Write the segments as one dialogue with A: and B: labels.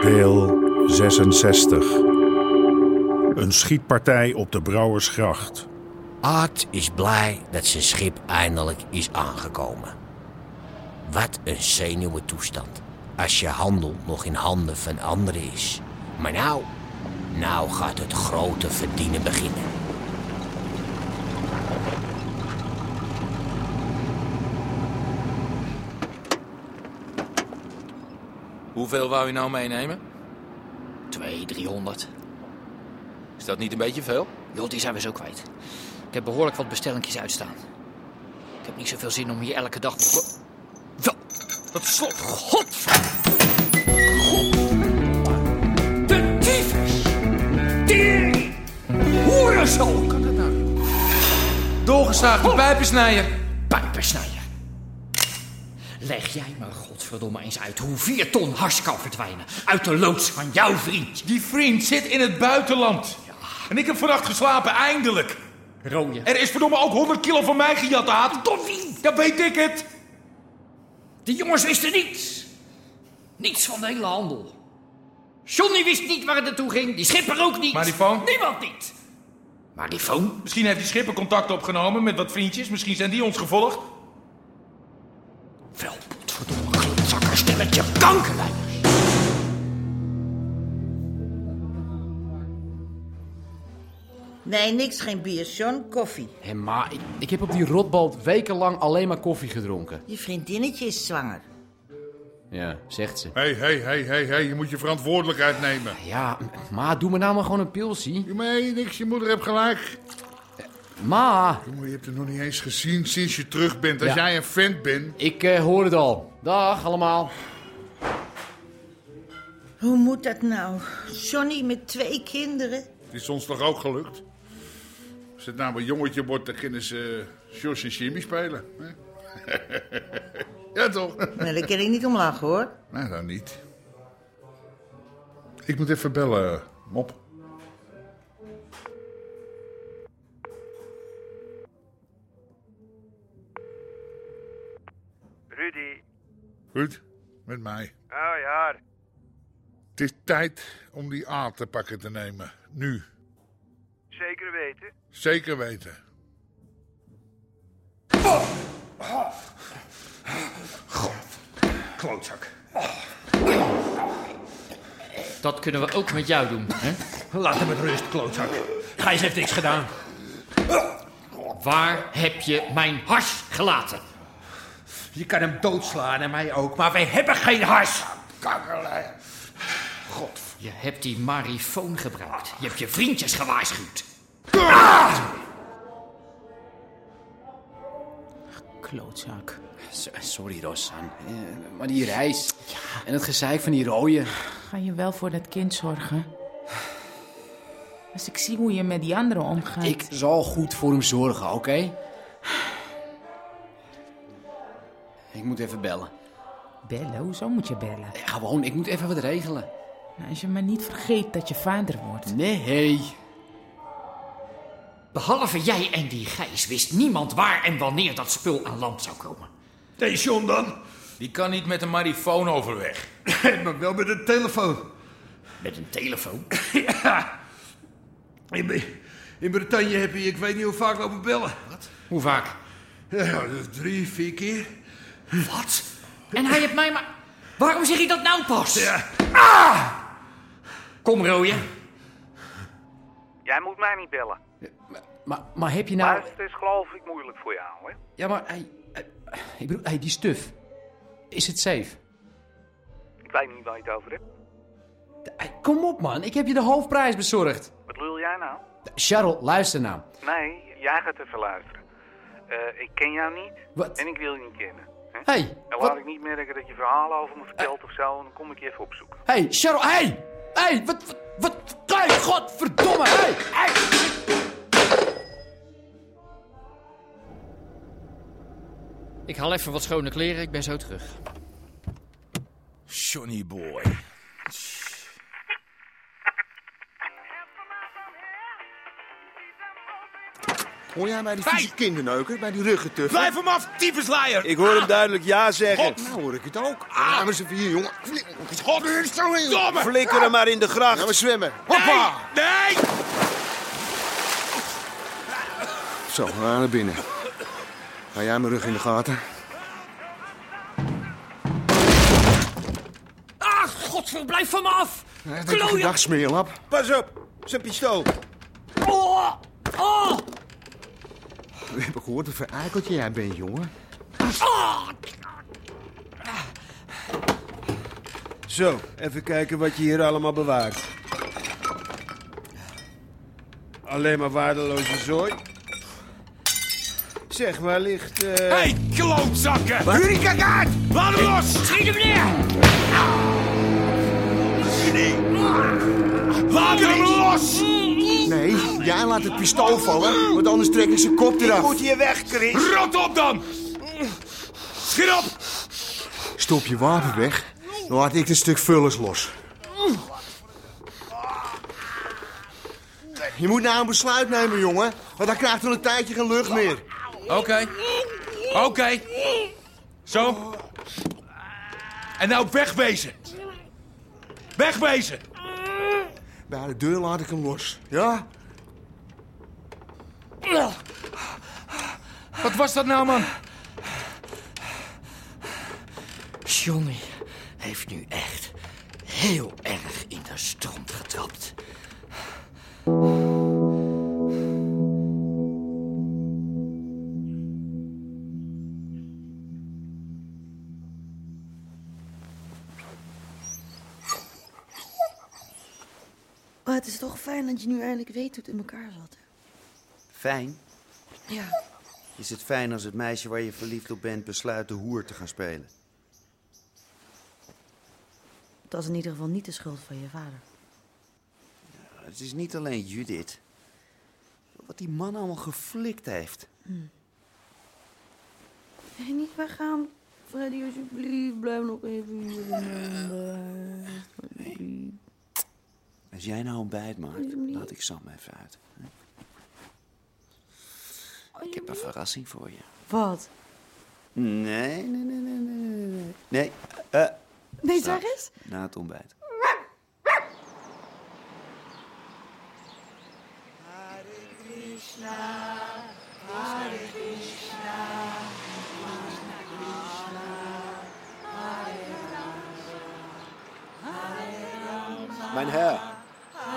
A: Deel 66. Een schietpartij op de Brouwersgracht.
B: Art is blij dat zijn schip eindelijk is aangekomen. Wat een zenuwen toestand als je handel nog in handen van anderen is. Maar nou, nou gaat het grote verdienen beginnen.
C: Hoeveel wou je nou meenemen?
D: 200, 300.
C: Is dat niet een beetje veel?
D: Joh, die zijn we zo kwijt. Ik heb behoorlijk wat bestellingjes uitstaan. Ik heb niet zoveel zin om hier elke dag... Wel,
C: Dat slot.
D: god! De tyfus! Tering! Hoerenzooi! nou?
C: Doorgezaagde pijpensnijer.
D: Pijpersnijer! Leg jij me godverdomme eens uit hoe vier ton hars kan verdwijnen uit de loods van jouw vriendje.
C: Die vriend zit in het buitenland. En ik heb vannacht geslapen, eindelijk.
D: Rooie.
C: Er is verdomme ook 100 kilo van mij gejat, haat.
D: Door wie?
C: Dat weet ik het.
D: De jongens wisten niets. Niets van de hele handel. Johnny wist niet waar het naartoe ging. Die schipper ook niet.
C: Maar die phone?
D: Niemand niet. Maar die phone?
C: Misschien heeft die schipper contact opgenomen met wat vriendjes. Misschien zijn die ons gevolgd.
D: Wel, potverdomme klootzakker, stemmetje kankerlijners.
E: Nee, niks, geen bier, John. Koffie.
F: Hé, ma, ik, ik heb op die rotbal wekenlang alleen maar koffie gedronken.
E: Je vriendinnetje is zwanger.
F: Ja, zegt ze.
G: Hé, hé, hé, hé, hé, je moet je verantwoordelijkheid nemen.
F: Ja, m- ma, doe me nou maar gewoon een pilsie.
G: Je meent niks, je moeder hebt gelijk.
F: Ma,
G: Jongen, je hebt het nog niet eens gezien sinds je terug bent. Als
F: Ja.
G: jij een vent bent,
F: ik eh, hoor het al. Dag allemaal.
E: Hoe moet dat nou? Johnny met twee kinderen?
G: het is ons toch ook gelukt? Als het nou een jongetje wordt, dan kunnen ze Jos en Jimmy spelen. hè? ja, toch?
E: Nou, daar kan ik niet om lachen, hoor.
G: nou, dan niet. Ik moet even bellen, mop.
H: Rudy.
G: Goed, met mij.
H: Oh ja,
G: Het is tijd om die A te pakken te nemen. Nu.
H: zeker weten.
G: Zeker weten.
C: Klootzak.
D: Dat kunnen we ook met jou doen. Hè?
C: Laat hem met rust, klootzak. Gijs heeft niks gedaan.
D: Waar heb je mijn hars gelaten?
C: Je kan hem doodslaan en mij ook, maar wij hebben geen hars.
D: Je hebt die marifoon gebruikt. Je hebt je vriendjes gewaarschuwd.
F: Klootzaak. sorry, Rossan. Eh, maar die reis. En het gezeik van die rooien.
I: Ga je wel voor dat kind zorgen? Als ik zie hoe je met die anderen omgaat.
F: Ik zal goed voor hem zorgen, oké? Ik moet even bellen.
I: Bellen? Hoezo moet je bellen?
F: Eh, Gewoon, ik moet even wat regelen.
I: Nou, als je maar niet vergeet dat je vader wordt.
F: Nee.
D: Behalve jij en die Gijs wist niemand waar en wanneer dat spul aan land zou komen.
C: Nee, John dan. Die kan niet met een marifoon overweg. maar wel met een telefoon.
D: Met een telefoon.
J: In, Bri- in Bretagne heb je, ik weet niet hoe vaak, lopen bellen. Wat?
D: Hoe vaak?
J: Ja, dus drie, vier keer.
D: Wat? En hij heeft mij maar... Waarom zeg je dat nou pas? Ah! Kom, Rooie.
H: Jij moet mij niet bellen.
F: Maar, maar heb je nou...
H: Maar het is geloof ik moeilijk voor jou, hè?
F: Ja, maar hij, hij- ik bedoel, hij, die stuf. Is het safe?
H: Ik weet niet waar je het over hebt.
K: Kom op, man. Ik heb je de hoofdprijs bezorgd.
H: Wat lul jij nou?
K: Charles, luister nou.
H: Nee, jij gaat even luisteren. Eh, ik ken jou niet.
K: Wat?
H: En ik wil je niet kennen. hè?
K: Hey,
H: en laat
K: wat-
H: ik niet merken dat je verhalen over me vertelt of zo. En dan kom ik je even opzoeken.
K: Hé, hey, Cheryl, hé! Hey! Hé, hey, wat, wat, wat, hey, godverdomme, hé! Hey, hey.
L: Ik haal even wat schone kleren, ik ben zo terug.
M: Johnny boy.
G: Hoor jij mij die vieze kinderneuker bij die ruggetuffen?
M: Blijf hem af, Ah. tyfuslijer!
G: Ik hoor hem duidelijk ja zeggen.
M: God.
G: Nou hoor ik het ook. Ah, maar ze vier, jongen.
M: Godverdomme!
G: Flikker hem maar in de gracht. Gaan we zwemmen. Hoppa!
M: Nee!
G: Zo, we gaan naar binnen. Ga jij mijn rug in de gaten?
L: Ah, godver, blijf van me af!
G: Klooi! Dag, smeerlap.
M: Pas op, zijn pistool.
L: Oh, oh,
G: We hebben gehoord wat voor eikeltje jij bent, jongen.
L: oh.
M: Zo, even kijken wat je hier allemaal bewaart. Alleen maar waardeloze zooi. Zeg, waar ligt...
G: Eh.
M: Hé, hey, klootzakken! Hurricane! Laat hem los! Schiet hem neer!
G: Laat hem los! Nee, jij laat het pistool vallen, want anders trek ik zijn kop eraf.
M: hier weg, Chris. Rot op dan! Schiet op!
G: Stop je wapen weg, dan laat ik een stuk vullers los. Je moet nou een besluit nemen, jongen. Want hij krijgt al een tijdje geen lucht meer.
C: Oké. Oké. Zo. En nou wegwezen. Wegwezen.
G: Bij de deur laat ik hem los. Ja?
C: Wat was dat nou, man?
L: Johnny heeft nu echt heel erg in de stront getrapt.
E: Maar het is toch fijn dat je nu eindelijk weet hoe het in elkaar zat.
D: Fijn?
E: Ja.
D: Is het fijn als het meisje waar je verliefd op bent besluit de hoer te gaan spelen?
E: Dat is in ieder geval niet de schuld van je vader.
D: Het is niet alleen Judith. Wat die man allemaal geflikt heeft.
E: Hey, niet weggaan. Freddy, alsjeblieft, blijf nog even hier.
D: Als jij nou ontbijt maakt, laat ik Sam even uit. Ik heb een verrassing voor je.
E: Wat?
D: Nee, nee, nee, nee, nee, nee. Nee, eh,
E: Nee,
D: Straks.
E: zeg eens.
D: na het ontbijt.
N: Mijn Heer,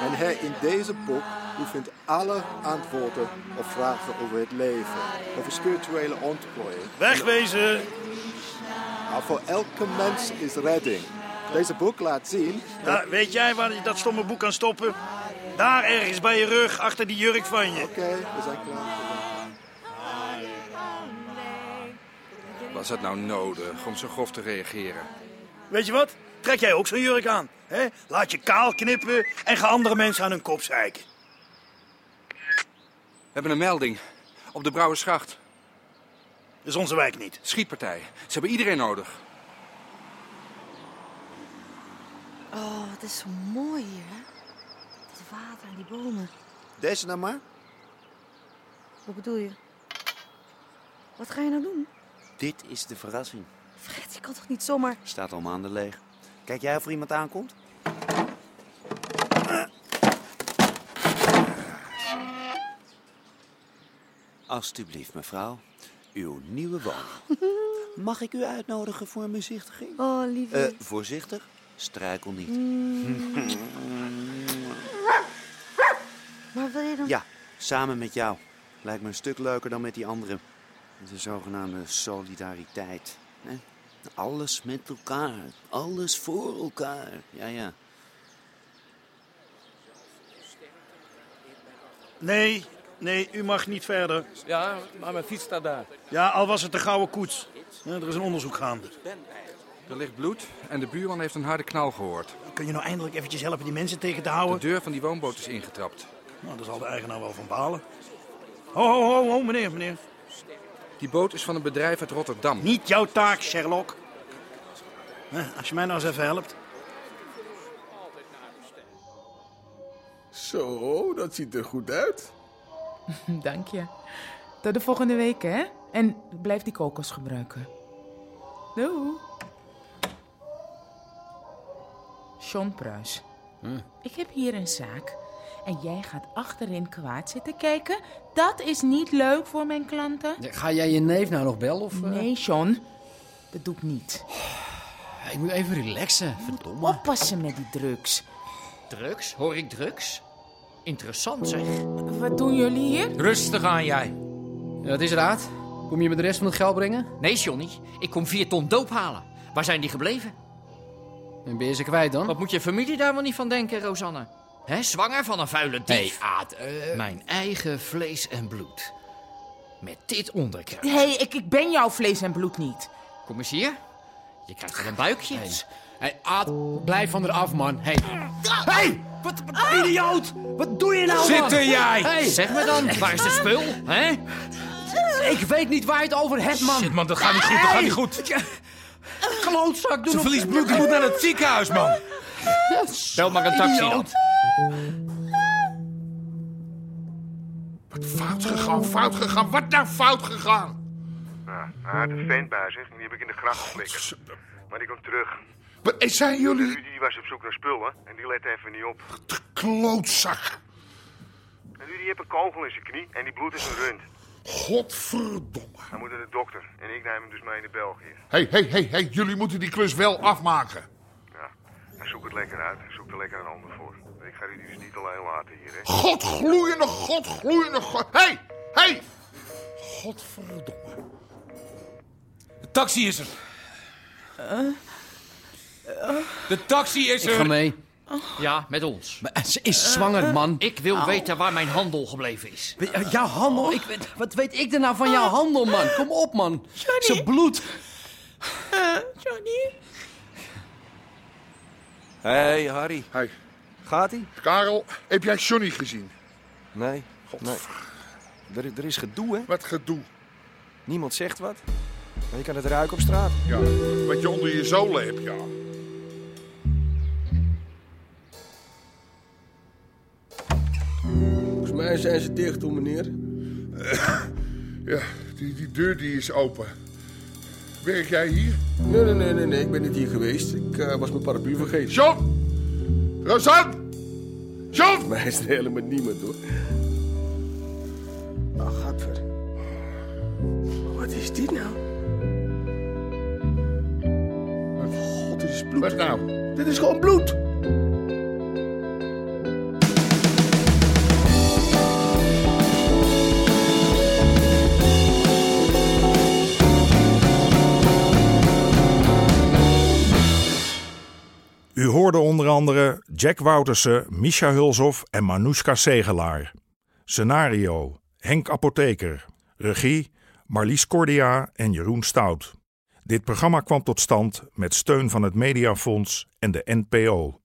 N: mijn Heer, in deze boek, u vindt alle antwoorden op vragen over het leven, over spirituele ontplooiing.
O: Wegwezen!
N: Maar Nou, voor elke mens is redding. Deze boek laat zien dat...
O: Ja, weet jij waar je dat stomme boek kan stoppen? Daar ergens bij je rug, achter die jurk van je.
N: Oké, we zijn klaar.
P: Was het nou nodig om zo grof te reageren?
O: Weet je wat? Trek jij ook zo'n jurk aan. Hè? Laat je kaal knippen en ga andere mensen aan hun kop zeiken.
P: We hebben een melding. Op de Brouwersgracht. Dat
O: is onze wijk niet.
P: Schietpartij. Ze hebben iedereen nodig.
E: Oh, het is zo mooi hier, hè? Het water en die bomen.
D: Deze nou maar.
E: Wat bedoel je? Wat ga je nou doen?
D: Dit is de verrassing.
E: Fred, je kan toch niet zomaar...
D: Staat al maanden leeg. Kijk jij of er iemand aankomt? Alsjeblieft, mevrouw. Uw nieuwe woning. Mag ik u uitnodigen voor een bezichtiging?
E: Oh, lieve.
D: Eh, voorzichtig, struikel niet.
E: Maar wil je dan...
D: Ja, samen met jou. Lijkt me een stuk leuker dan met die anderen. De zogenaamde solidariteit. hè? Alles met elkaar. Alles voor elkaar. Ja, ja.
Q: Nee, nee, u mag niet verder.
R: Ja, maar mijn fiets staat daar.
Q: Ja, al was het de gouden koets. Ja, er is een onderzoek gaande.
M: Er ligt bloed en de buurman heeft een harde knal gehoord.
Q: Kun je nou eindelijk eventjes helpen die mensen tegen te houden?
M: De deur van die woonboot is ingetrapt.
Q: Nou, daar zal de eigenaar wel van balen. Ho, ho, ho, ho, meneer, meneer.
M: Die boot is van een bedrijf uit Rotterdam.
Q: Niet jouw taak, Sherlock. Eh, Als je mij nou eens even helpt.
S: Zo, dat ziet er goed uit.
I: Dank je. Tot de volgende week, hè? En blijf die kokos gebruiken. Doei. John Pruis. Ik heb hier een zaak. En jij gaat achterin kwaad zitten kijken? Dat is niet leuk voor mijn klanten.
F: Ga jij je neef nou nog bellen? Of,
I: Nee, John. Dat doe ik niet.
F: Ik moet even relaxen. Verdomme.
I: Oppassen met die drugs.
D: Drugs? Hoor ik drugs? Interessant zeg.
I: Wat doen jullie hier?
D: Rustig aan jij.
F: Dat is raad. Kom je me de rest van het geld brengen?
D: Nee, Johnny. Ik kom vier ton doop halen. Waar zijn die gebleven?
F: En ben je ze kwijt dan?
D: Wat moet je familie daar wel niet van denken, Rosanne? Hè, zwanger van een vuile dief.
R: Aad, eh, Mijn eigen vlees en bloed. Met dit onderkruid.
I: Hé, hey, ik, ik ben jouw vlees en bloed niet.
D: Kom eens hier. Je krijgt er een buikje.
R: Hey, Aad, blijf van eraf, man. Hey. Hey! Wat, wat
C: Ah!
R: idioot! Wat doe je nou, man?
D: Zitten jij!
R: Hey.
D: Zeg me dan, waar is de spul? Hè?
R: Ik weet niet waar je het over hebt, man.
D: Shit, man, dat gaat niet goed, dat gaat niet goed.
R: Klootzak, doe
C: Ze
R: nog-
C: verliest bloed, die moet naar het ziekenhuis, man.
D: Bel maar een taxi dan.
G: Fout gegaan, fout gegaan. Wat nou fout gegaan?
H: Nou, hij had een vent bij zich en die heb ik in de gracht geflikkerd. Maar die komt terug.
G: Maar eh, zijn jullie
H: Rudy die was op zoek naar spullen en die lette even niet op.
G: klootzak?
H: En Rudy heeft een kogel in zijn knie en die bloed is een rund.
G: Godverdomme.
H: Hij moet naar de dokter en ik neem hem dus mee naar België.
G: Hé, hé, hé, hé. Jullie moeten die klus wel afmaken.
H: Ja, hij zoekt het lekker uit. Hij zoekt er lekker een ander voor. Ik ga Rudy dus niet alleen laten hier, hè.
G: God gloeiende, God gloeiende, God. Hé, hey, hé. Hey. Godverdomme.
C: De taxi is er.
D: De taxi is
C: Eh. Ik ga er.
F: mee.
C: Oh.
D: Ja, met ons.
R: eh,
F: Ze is zwanger, man.
D: Ik wil
F: Au.
D: weten waar mijn handel gebleven is. Oh. Ah.
F: Eh, Jouw handel? Ik weet, wat weet ik er nou van jouw handel, man? Kom op, man. Zijn bloed.
I: Johnny?
M: Hé, hey, Harry.
G: Hey.
M: Gaat-ie?
G: Karel, heb jij Johnny gezien?
M: Nee. nee. Er, er is gedoe, hè?
G: Wat gedoe?
M: Niemand zegt wat. Maar je kan het ruiken op straat.
G: Ja, wat je onder je zolen hebt, ja.
T: Volgens mij zijn ze dicht, hoor, meneer.
G: Eh, Ja, die, die deur die is open. Werk jij hier?
T: Nee, nee, nee, nee, nee. Ik ben niet hier geweest. Ik eh, was mijn paraplu vergeten.
G: John! Rosan! John! Volgens
T: mij is er helemaal niemand, hoor. Ach, Oh, gadver. Wat is dit nou? God, dit is bloed.
G: Wat nou?
T: Dit is gewoon bloed.
A: U hoorde onder andere Jack Woutersen, Misha Hulshoff en Manoushka Segelaar. Scenario: Henk Apotheker. Regie: Marlies Cordia en Jeroen Stout. Dit programma kwam tot stand met steun van het Mediafonds en de NPO.